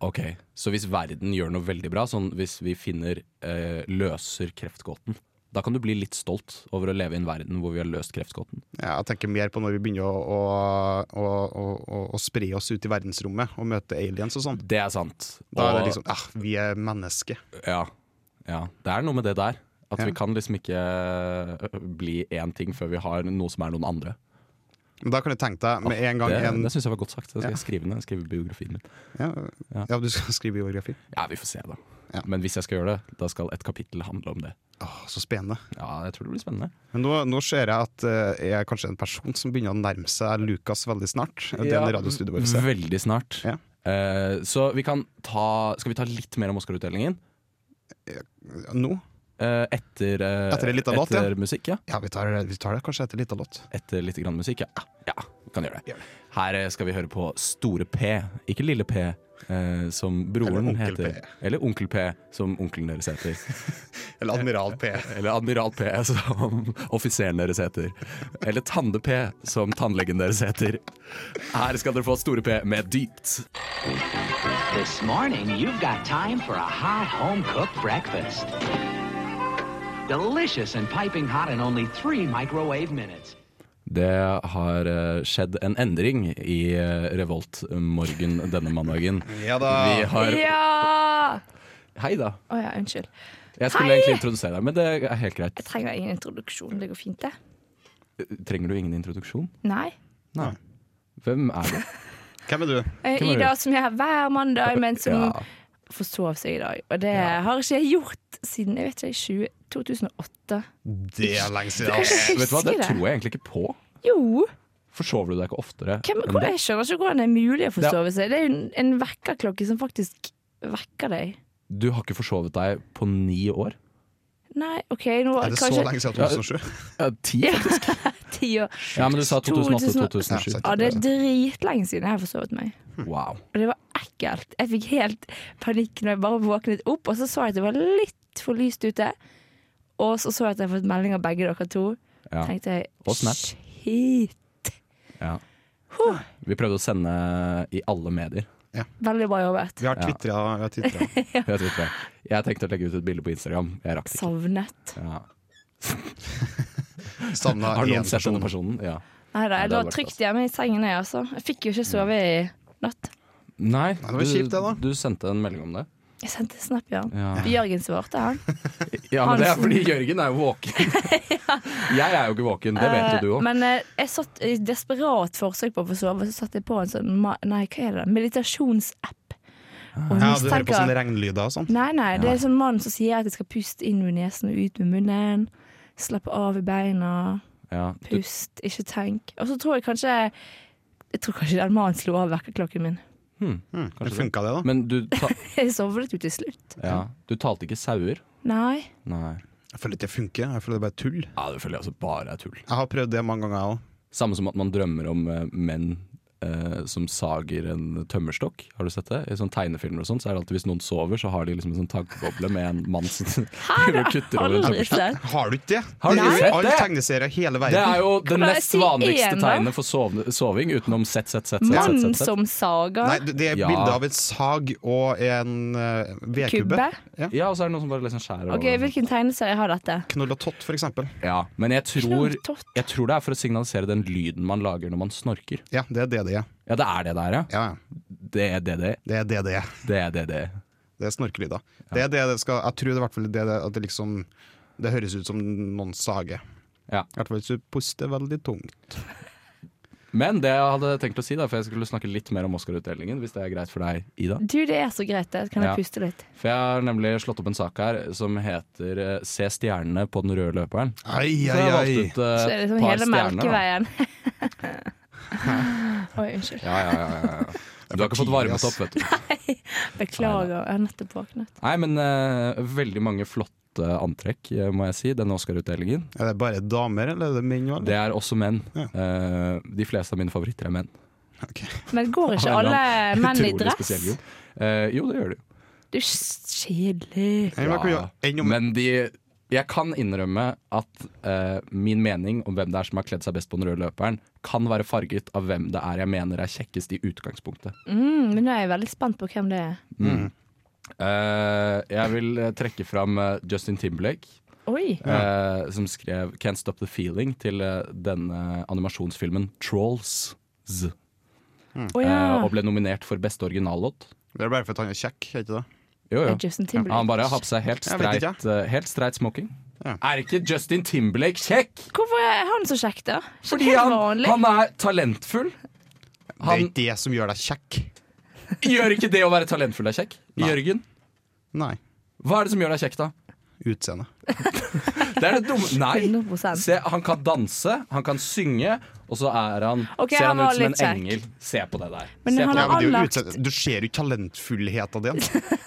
B: ok Så hvis verden gjør noe veldig bra Sånn hvis vi finner, eh, løser kreftgåten Da kan du bli litt stolt over å leve i en verden Hvor vi har løst kreftgåten
D: Ja, jeg tenker mer på når vi begynner å, å, å, å, å, å spre oss ut i verdensrommet og møte aliens og sånn.
B: Det er sant
D: Da er det
B: Og-
D: liksom ah, Vi er mennesker.
B: ja, ja, det er noe med det der At
D: Ja.
B: vi kan liksom ikke eh, bli en ting Før vi har noe som er noen andre
D: Men da kan du tenke deg med en gang
B: det,
D: en
B: det synes jeg var godt sagt Det skal
D: Ja.
B: jeg skrive ned, skrive biografien min
D: ja, ja, du skal skrive biografi.
B: Ja, vi får se da
D: Ja.
B: Men hvis jeg skal gjøre det, da skal et kapittel handle om det
D: Åh, så spennende.
B: Ja, jeg tror det blir spennende
D: Men nå, nå ser jeg at eh, jeg er kanskje en person som begynner å nærme seg Lukas veldig snart. Den radiostudioet vårt. ser.
B: Veldig snart.
D: Ja.
B: Eh, så vi kan ta Skal vi ta litt mer om Oscar-utdelingen?
D: Nå?
B: Eh, etter eh,
D: Etter en liten låt, ja.
B: etter musikk, ja.
D: Ja, vi tar, vi tar det kanskje etter litt av låt.
B: Etter litt grann musikk, ja. Ja, vi kan gjøre det.
D: Gjør det.
B: Her eh, skal vi høre på Store P, ikke Lille P, eh, som
D: Eller
B: broren
D: Onkel
B: heter.
D: P.
B: Eller Onkel P, som onkelen deres heter.
D: [LAUGHS] Eller Admiral P.
B: Eller Admiral P, som offiseren deres heter. Eller Tande P, som tannlegen deres heter. Her skal dere få Store P med Dypt.
E: This morning, you've got time for a hot home cooked breakfast. Delicious and piping hot in only three microwave minutes.
B: Det har eh, skjedd en endring i eh, Revolt-morgen denne mandagen.
D: Ja da.
B: Vi har
G: Ja!
B: Hei, da.
G: Å ja, unnskyld.
B: Jeg skulle
G: Hei!
B: egentlig introdusere deg, men det er helt greit.
G: Jeg trenger ingen introduksjon. Det går fint, det.
B: Trenger du ingen introduksjon?
G: Nei.
B: Nei. Hvem er du?
D: Hvem er du?
G: Eh,
B: Hvem er
G: Ida som jeg har hver mandag, men som
B: Ja.
G: forsov seg i dag. Og det har ikke jeg gjort siden jeg vet ikke, 20, 2008.
D: Det er lenge siden. ass. [LAUGHS]
G: Jeg
B: Vet du hva,
G: husker
B: Det tror jeg egentlig ikke på.
G: Jo!
B: Forsover du deg ikke oftere?
G: Hvem,
B: enn
G: hvor,
B: det?
G: jeg skjønner ikke hvordan det er mulig å forsove seg. Det er jo en, en vekkerklokke som faktisk vekker deg.
B: Du har ikke forsovet deg på ni år?
G: Nei, OK, nå
D: Er det så
G: kanskje
D: lenge siden 2007?
B: ti? faktisk.
G: ti år.
B: Ja, men du sa 2008-2007.
D: Ja,
G: Ja, det er dritlenge siden jeg har forsovet meg.
B: Wow.
G: Og det var ekkelt. Jeg fikk helt panikk når jeg bare våknet opp, og så så jeg at det var litt for lyst ute. Og så så jeg at jeg hadde fått melding av begge dere to.
B: Ja.
G: Tenkte jeg,
B: Og Snap.
G: shit.
B: Ja. Vi prøvde å sende i alle medier.
G: Veldig bra jobbet.
D: Vi har twitra. vi har [LAUGHS] twittra.
B: Jeg, vet ikke. jeg tenkte å legge ut et bilde på Instagram. Jeg rakk det ikke.
G: Savnet.
B: Ja.
D: Savna
B: Har
D: én
B: noen sett denne
D: person.
B: personen? Ja.
G: Nei da,
B: det
G: jeg lå
B: hadde vært
G: trygt hjemme i sengen, jeg, altså. Jeg fikk jo ikke sove i natt.
B: Nei,
D: var kjipt det da.
B: Du, du sendte en melding om det.
G: Jeg sendte snap, ja.
B: Ja.
G: Jørgen svarte, han.
B: Ja, men det er
G: Hansen.
B: fordi Jørgen er jo
G: [LAUGHS]
B: våken. [LAUGHS] Jeg er jo ikke våken, det vet jo du
G: Eh,
B: òg.
G: Men eh, jeg satt i desperat forsøk på å få sove, så satte jeg på en sånn ma- Nei, hva er det? Meditasjonsapp.
B: Ah.
D: Ja, du hører
G: Og
D: på
G: mistenker-
D: sånne regnlyder og sånn.
G: Nei, nei, det er en sånn mann som sier at jeg skal puste inn med nesen og ut med munnen. Slappe av i beina,
B: Ja, du-
G: pust, ikke tenk. Og så tror jeg kanskje Jeg tror kanskje den mannen slo av vekkerklokken min. [LAUGHS]
D: Hmm, Funka det, da?
B: men du, ta,
G: Jeg sovnet jo til slutt.
B: ja, du talte ikke sauer?
G: Nei.
B: Nei.
D: Jeg føler ikke det funker. Jeg føler det er bare tull.
B: Ja, det føler jeg altså bare er tull.
D: Jeg har prøvd det mange ganger, jeg òg.
B: Samme som at man drømmer om eh, menn eh, som sager en tømmerstokk. Har du sett det? I sånne tegnefilmer og sånn, så er det alltid hvis noen sover, så har de liksom en sånn taggboble med en mann som [LAUGHS] driver og kutter over en
G: Aldri
B: tømmerstokk.
G: sett.
D: Har du ikke det?
B: Har du
D: det er
B: ikke
D: jo
B: sett
D: alle
B: det?
D: tegneserier i hele
B: Det
D: verden.
B: er jo det
G: Kan jeg
B: nest
G: si
B: vanligste
G: én, da?
B: tegnet for sovne, soving utenom sett, sett, sett, sett. sett,
G: Mann
B: sett, sett.
G: som sager.
D: Nei, det- det er
B: Ja.
D: bilde av en sag og en eh, vedkubbe.
G: Kubbe?
B: Ja, og så er det noen som bare liksom skjærer
G: Ok, Hvilken tegneserie har dette?
D: Knoll og tott, for eksempel.
B: Ja, men jeg tror,
G: Knolltott.
B: jeg tror det er for å signalisere den lyden man lager når man snorker.
D: Ja, det er det det er.
B: Ja, det er det der, ja.
D: Ja, ja.
B: Det er det det.
D: det er det det er.
B: Det er det det.
D: Det er snorkelyder. Det er det det skal Jeg tror det er i hvert fall det, det at det liksom Det høres ut som noen sager.
B: Ja.
D: I hvert fall hvis du puster veldig tungt.
B: Men det jeg hadde tenkt å si, da, for jeg skulle snakke litt mer om Oscar-utdelingen, hvis det er greit for deg, Ida.
G: Du, det er så greit, det. Kan
B: Ja.
G: jeg puste litt?
B: For jeg har nemlig slått opp en sak her som heter eh, 'Se stjernene på den røde løperen'. Så
D: Ai, ai,
B: jeg har
D: ai.
B: valgt ut eh,
G: Så er det
B: et
G: liksom
B: par
G: hele
B: stjerner. da. [LAUGHS]
G: Melkeveien. [LAUGHS] Oi, unnskyld.
B: Ja, ja, ja, ja, ja. Du har ikke fått
D: tidlig,
B: varmet
D: ass.
B: opp, vet du.
G: [LAUGHS] Beklager, jeg har nettopp våknet.
B: Nei, men eh, veldig mange flotte antrekk, eh, må jeg si, denne Oscar-utdelingen.
D: Er det bare damer, eller er det menn òg?
B: Det er også menn.
D: Ja.
B: Eh, de fleste av mine favoritter er menn.
G: [LAUGHS] Men går ikke
B: Av en eller
G: alle menn i
B: Utrolig
G: dress?
B: spesiell jobb. Eh, jo, det gjør de jo.
G: Du, s- kjedelig.
D: Enn om
B: Men de Jeg kan innrømme at eh, min mening om hvem det er som har kledd seg best på den røde løperen, kan være farget av hvem det er jeg mener er kjekkest i utgangspunktet.
G: Mm, men nå er jeg veldig spent på hvem det er.
B: Eh, jeg vil eh, trekke fram eh, Justin Timberlake,
G: Oi.
B: eh, som skrev 'Can't Stop The Feeling' til eh, denne animasjonsfilmen Trolls. Z,
G: Å ja.
B: eh, og ble nominert for beste originallåt.
D: Det er bare fordi han er kjekk, er ikke det?
B: Jo,
G: Det
B: jo.
G: er Justin
B: Ja, han bare har
G: Timberlake.
B: på seg helt
D: Jeg vet ikke.
B: streit, eh, helt streit smoking.
D: Ja.
B: Er ikke Justin Timberlake kjekk?
G: Hvorfor er han så kjekk, da? Ikke
B: Fordi
G: helt
B: han,
G: vanlig.
B: han er talentfull.
D: Det er
B: Han
D: ikke det som gjør deg kjekk.
B: [LAUGHS] gjør ikke det å være talentfull er kjekk. Jørgen,
D: Nei.
B: hva er det som gjør deg kjekk, da?
D: Utseende.
B: Det er det
G: [LAUGHS]
B: dumme Nei.
G: 100
B: Se, han kan danse, han kan synge, og så er han
G: Ok,
B: Ser
G: han
B: han
G: var
B: ut som en
G: litt kjekk.
B: engel. Se på det der.
G: Men
B: Se
G: han
B: på
D: Ja,
B: det.
D: men det
G: er
D: er jo
G: anlagt.
D: utseende. Du ser jo ikke talentfullheten din.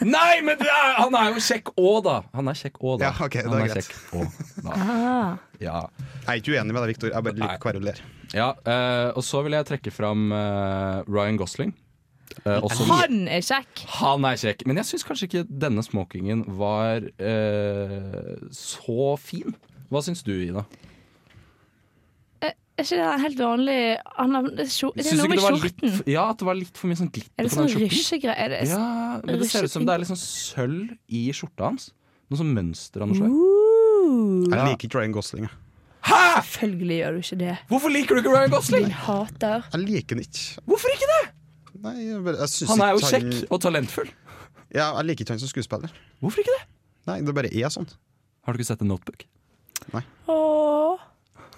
B: Nei, men det er, han er jo kjekk òg, da! Han er kjekk òg, da.
D: Ja, ok, det er
B: han
D: greit.
B: kjekk også, da.
G: [LAUGHS] Ah.
B: Ja.
D: Jeg er ikke uenig med deg, Victor. Jeg bare liker hva du ler.
B: Ja, eh, og så vil jeg trekke fram eh, Ryan Gosling. Eh, også,
G: Han er kjekk!
B: han er kjekk, men jeg syns kanskje ikke denne smokingen var eh, så fin. Hva syns du, Ida?
G: Er ikke det en helt vanlig Han har det er skjor- det er
B: Syns du ikke
G: noe i
B: det var litt,
G: skjorten.
B: f- ja, at det var litt for mye sånn glitter
G: Er det
B: på
G: sånn
B: den skjorten?
G: rysjegreier? Er det-
B: Ja, men det ser ut som det er litt sånn sølv i skjorta hans. Noe sånn mønster av noe slag.
G: Uh,
D: Jeg liker ikke Ryan Gosling. jeg.
B: Hæ?!
G: Selvfølgelig gjør du ikke det.
B: Hvorfor liker du ikke Ryan Gosling?
G: Din hater.
D: Jeg liker han ikke.
B: Hvorfor ikke det?
D: Nei, jeg, bare- jeg synes
B: Han er jo
D: ikke
B: kjekk og talentfull.
D: Ja, jeg liker ikke han som skuespiller.
B: Hvorfor ikke det?
D: Nei, det bare er sånn.
B: Har du ikke sett en notebook?
G: Åh.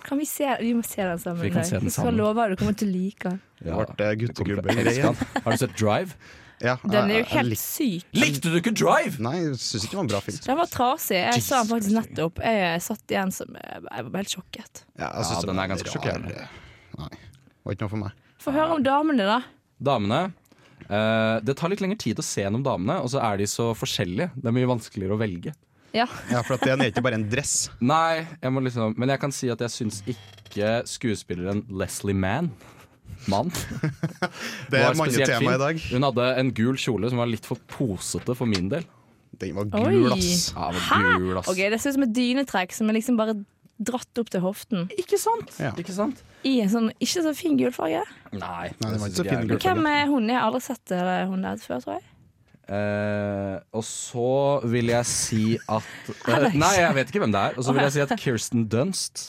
G: Kan vi se Vi må se den sammen.
B: Vi kan
G: Dag.
B: se den
G: Jeg skal
B: sammen.
G: love at du kommer til å like den.
B: Ja,
D: Det ble
B: det kommer fra-
D: guttegubbe-greie.
B: Jeg elsker han. Har du sett Drive?
D: Ja,
G: Den er jo
D: jeg- jeg
G: helt
D: lik-
G: syk.
B: Likte du ikke Drive?
D: Nei, jeg syns ikke det var en bra film.
G: Den var trasig. Jeg
B: Jesus
G: så den faktisk
B: Christ.
G: nettopp. Jeg satt igjen som Jeg var helt sjokket.
D: Ja, jeg
B: Ja,
D: synes det
B: den
D: var
B: er ganske
D: rar.
B: sjokkerende.
D: Nei, det var ikke noe for meg.
G: Få høre om damene, da.
B: Damene. eh, det tar litt lengre tid å se gjennom damene, og så er de så forskjellige. Det er mye vanskeligere å velge.
G: Ja.
D: Ja, for at den er ikke bare en
B: [LAUGHS]
D: dress.
B: Nei, jeg må liksom, men jeg kan si at jeg syns ikke skuespilleren Leslie Mann [LAUGHS] Mann.
D: Det er
B: var spesielt
D: mannetema
B: fin.
D: i dag.
B: Hun hadde en gul kjole som var litt for posete for min del.
D: Den var gul,
G: Oi.
D: ass.
B: Ja, den var gul, ass.
G: Ok, Det ser ut som et dynetrekk som er liksom bare dratt opp til hoften.
B: Ikke sant?
D: Ja.
B: Ikke sant?
G: I en sånn ikke så fin gulfarge.
B: Nei.
D: Nei, den var
B: jeg
D: ikke
B: syns
D: så fin
B: jeg er
D: gul.
B: gul.
G: Hvem er hun? Jeg har aldri sett eh, hun der før, tror jeg.
B: Eh, og så
G: [LAUGHS]
B: vil jeg si at eh, Nei, jeg vet ikke hvem det er. Og så vil jeg si at Kirsten Dunst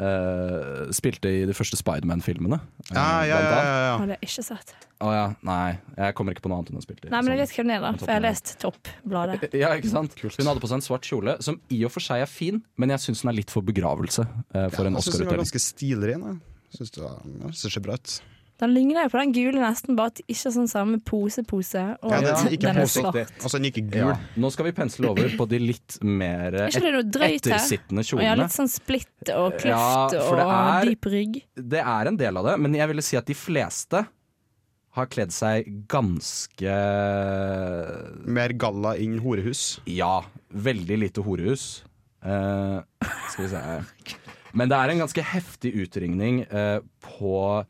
B: eh, spilte i de første Spiderman-filmene. eh,
D: Ja, ja,
B: blant
D: ja,
B: annet.
D: ja, ja.
G: Har jeg ikke sett.
B: Å ja, nei, jeg kommer ikke på noe annet hun har spilt i.
G: Nei, men
B: Sånn.
G: jeg vet hvem det er, da. For jeg har lest Topp-bladet.
B: Ja, ikke sant? Hun hadde på seg en svart kjole, som i og for seg er fin, men jeg syns den er litt for begravelse eh, for en
D: Jeg syns den
B: Oscar-utdeling.
D: var ganske stilren. jeg. Synes det var- Jeg syns det ser bra ut.
G: Den ligner jo på den gule, nesten, bare at ikke sånn samme pose-pose. Og
D: Ja, det er ikke
G: den er
D: pose.
G: svart. Er
D: Altså, den er ikke gul.
B: Ja. Nå skal vi pensle over på de litt mer eh,
G: ikke det noe drøyt her?
B: ettersittende
G: Og ja,
B: kjolene.
G: litt sånn splitt og
B: Ja,
G: kløft
B: for
G: og
B: det er-
G: dyp rygg.
B: Det er en del av det, men jeg ville si at de fleste har kledd seg ganske
D: Mer galla enn horehus.
B: Ja, veldig lite horehus. Eh, skal vi se Men det er en ganske heftig utringning eh, på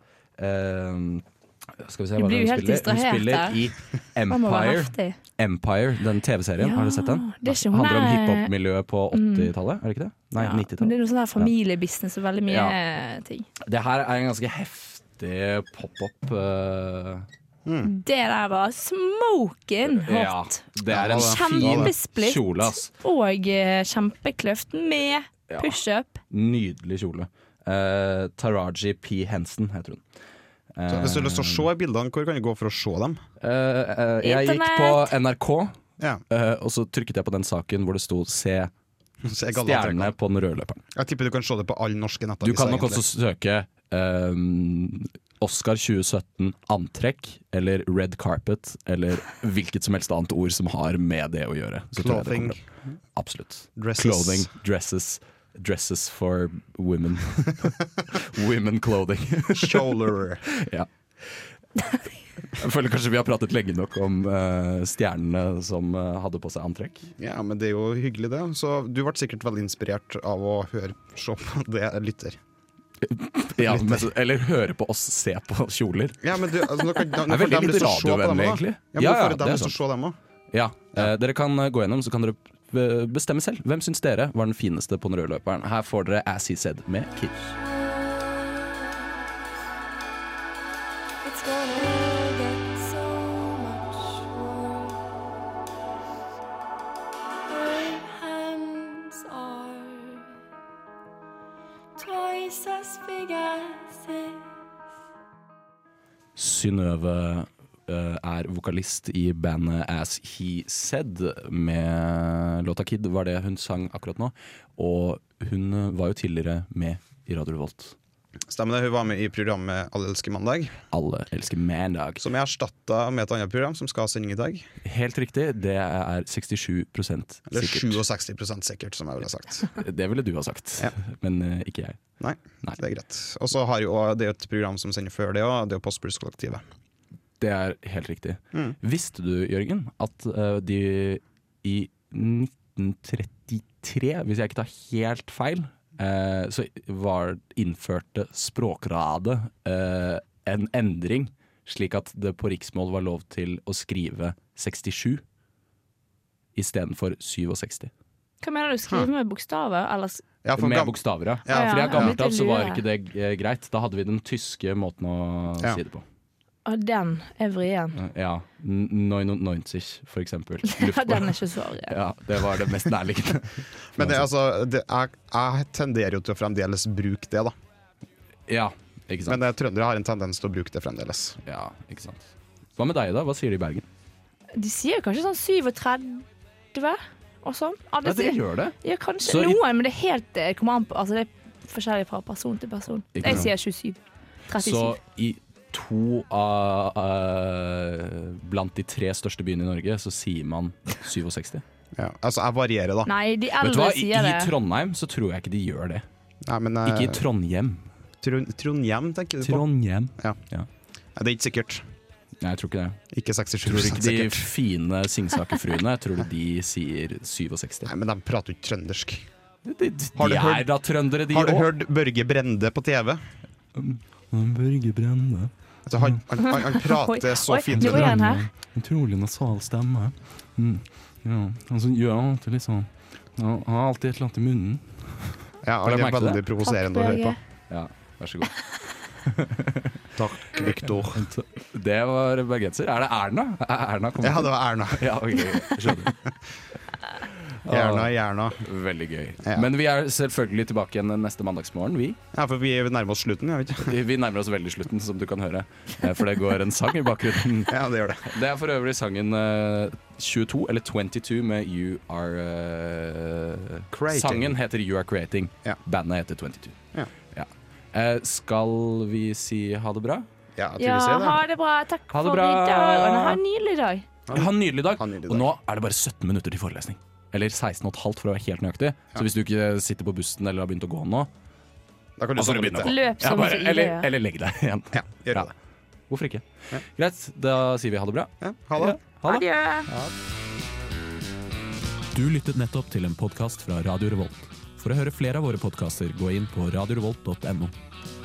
B: eh, Skal vi se
G: Jeg
B: hva
G: blir
B: hun
G: jo
B: spiller.
G: helt
B: Hun
G: distrahert her.
B: spiller i
G: [LAUGHS] Den må være
B: Empire,
G: heftig.
B: Empire den TV-serien.
G: Ja,
B: har du sett den?
G: det er ikke hun
B: Handler om
G: er- Mm.
B: hiphop-miljøet på 80-tallet, er det ikke det? Nei,
G: Ja, Men det
B: 90-tallet.
G: er noe sånn her familiebusiness og veldig mye
B: Ja.
G: eh, ting.
B: Det her er en ganske heftig pop-up. eh,
G: Det der var smoking
B: ja,
G: hot.
B: det er en fin
G: Kjempesplitt.
B: kjole, ass.
G: Og eh, kjempekløft med
B: Ja.
G: pushup.
B: Nydelig kjole. Eh, Taraji P. Henson heter hun.
D: Så hvis du har lyst til å se bildene, hvor kan du gå for å se dem?
B: Eh, eh, jeg gikk på NRK,
D: Ja,
B: eh, og så trykket jeg på den saken hvor det sto 'Se
D: så er galla
B: stjerne
D: trekant.
B: på den røde løperen'.
D: Jeg tipper du kan se det på alle norske
B: Du
D: nettaviser.
B: kan nok også
D: egentlig.
B: søke ehm, Oscar 2017 antrekk eller red carpet eller hvilket som helst annet ord som har med det å gjøre. Så tror jeg det
D: Clothing.
B: kommer opp. Absolutt.
D: Dresses.
B: Clothing, dresses, dresses for women. [LAUGHS] women clothing. [LAUGHS]
D: Shoulder.
B: Ja. Jeg føler kanskje vi har pratet lenge nok om eh, stjernene som eh, hadde på seg antrekk.
D: Ja, men det er jo hyggelig, det. Så du ble sikkert veldig inspirert av å høre se på [LAUGHS] det jeg lytter.
B: Ja, men, eller høre på oss se på kjoler.
D: Ja, men du, altså, nå kan, nå,
B: Det er
D: får
B: veldig
D: dem lyst til å se på dem
B: radiovennlig,
D: også, da.
B: egentlig.
D: Ja,
B: Ja,
D: men nå
B: ja,
D: får
B: det er
D: dem lyst til å se dem òg.
B: Ja, eh, Dere kan eh, gå gjennom, så kan dere eh, bestemme selv. Hvem syns dere var den fineste på den røde løperen? Her får dere As He Said med Kiss. Synnøve eh, er vokalist i bandet As He Said med låta Kid, var det hun sang akkurat nå. Og hun eh, var jo tidligere med i Radio Revolt.
D: Stemmer det. Hun var med i programmet Alle elsker mandag,
B: Alle elsker mandag.
D: som jeg erstatta med et annet program som skal ha sending i dag.
B: Helt riktig, det er 67
D: Eller
B: sikkert.
D: 67 sikkert, som jeg ville ha sagt.
B: [LAUGHS] Det ville du ha sagt,
D: Ja.
B: men eh, ikke jeg.
D: Nei,
B: Nei.
D: det er greit. Og så har jo det er jo et program som sender før det òg, det er jo Postblues-kollektivet.
B: Det er helt riktig.
D: Mm.
B: Visste du, Jørgen, at eh, de i 1933, hvis jeg ikke tar helt feil, eh, så var innførte Språkradet eh, en endring, slik at det på riksmål var lov til å skrive 67 istedenfor 67.
G: Hva mener du? Skrive med bokstaver? Eller s-
D: Ja, for
B: Med
D: gam-
B: bokstaver, ja.
D: Ja,
B: Fordi
G: ja,
B: jeg gammelt
G: ja.
B: av så var ikke det eh, greit. Da hadde vi den tyske måten å
D: Ja.
B: si det på.
G: Å, den er vrien.
B: Ja. 99, for eksempel.
G: [LAUGHS] Ja,
B: Luftbåren.
G: den er ikke så vrien.
B: Ja, det var det mest nærliggende.
D: Men det, er altså, det, jeg, jeg tenderer jo til å fremdeles bruke det, da.
B: [LAUGHS] Ja, ikke sant.
D: Men eh, trøndere har en tendens til å bruke det fremdeles.
B: Ja, ikke sant. Hva med deg, da? Hva sier de i Bergen?
G: De sier jo kanskje sånn 37 og sånn. Alle
B: Ja, dere
G: sier
B: gjør det.
G: ja, kanskje
B: Så i-
G: noen, men det er helt det kommer an på Altså, det er forskjellig fra person til person.
B: Ikke
G: Jeg
B: sant.
G: sier 27. 37.
B: Så i to av eh, Blant de tre største byene i Norge, så sier man
G: [LAUGHS]
B: 67.
D: Ja. Altså, jeg varierer, da.
G: Nei, de
B: Vet du hva, I,
G: eldre
B: i
G: sier det.
B: Trondheim så tror jeg ikke de gjør det.
D: Nei, men, eh,
B: Ikke i Trondheim.
D: Trond- Trondhjem, tenker du på?
B: Trondheim.
D: Nei, det er ikke sikkert.
B: Nei, jeg tror ikke det.
D: Ikke 67
B: Tror du ikke de
D: sikkert.
B: fine
D: [LAUGHS]
B: Singsaker-fruene Tror du de sier 67?
D: Nei, men de prater jo ikke trøndersk.
B: De, de, de
D: Har du hørt-
B: er da trøndere, de
D: Har du
B: òg.
D: hørt Børge Brende på TV?
B: Børge Brende.
D: Altså, han, han, han, han prater så
G: [LAUGHS] Oi,
D: fint
G: nå er
D: trøndersk.
G: han her.
B: Utrolig nasal stemme. Mm. Ja, altså, gjør han alltid litt sånn Han har alltid et eller annet i munnen.
D: Ja,
B: Har du
D: han er
B: merket
D: veldig
B: det?
D: provoserende å
G: Takk,
D: høre på.
G: Børge.
B: Ja, vær så [LAUGHS] god.
D: Takk, Viktor.
B: Altså. Det var bergenser. Er det Erna? Er Erna
D: Ja,
B: kommer
D: [LAUGHS] det var Erna.
B: Ja, ok, ok, skjønner.
D: Gjerne, gjerne.
B: Ah, Veldig gøy.
D: Ja.
B: Men vi er selvfølgelig tilbake igjen neste mandagsmorgen, vi.
D: Ja, for vi nærmer oss slutten, jeg vet ikke.
B: Vi nærmer oss veldig slutten, som du kan høre. Eh, For det går en sang i bakgrunnen.
D: Ja, det gjør det.
B: Det er for øvrig sangen eh, 22, eller 22, med You Are eh,
D: Creating.
B: Sangen heter You Are Creating.
D: Ja.
B: Bandet heter 22.
D: Ja.
B: Ja. Eh, skal vi si ha det bra?
D: Ja, jeg tror vi
G: Ja,
D: ser det.
G: ha det bra. Takk
B: Ha det bra.
G: for i dag. Og ha en nydelig dag.
B: Ha en nydelig dag.
D: Ha en nydelig
B: Og
D: dag.
B: nå er det bare 17 minutter til forelesning. Eller 16 og et halvt, for å være helt nøyaktig. Så hvis du ikke sitter på bussen eller har begynt å gå nå,
D: Da kan
B: Og
D: du
B: så
D: samle
B: begynner
D: litt.
B: vi.
G: Løp
B: ja,
G: som
B: bare,
G: så ille.
B: eller, eller legg deg igjen.
D: Ja, gjør det.
B: Hvorfor ikke? Greit, da sier vi ha det bra.
D: Ja, ha det.
B: Ha det.
G: Adjø.
H: Du lyttet nettopp til en podkast fra Radio Revolt. For å høre flere av våre podkaster, gå inn på radiorevolt.no.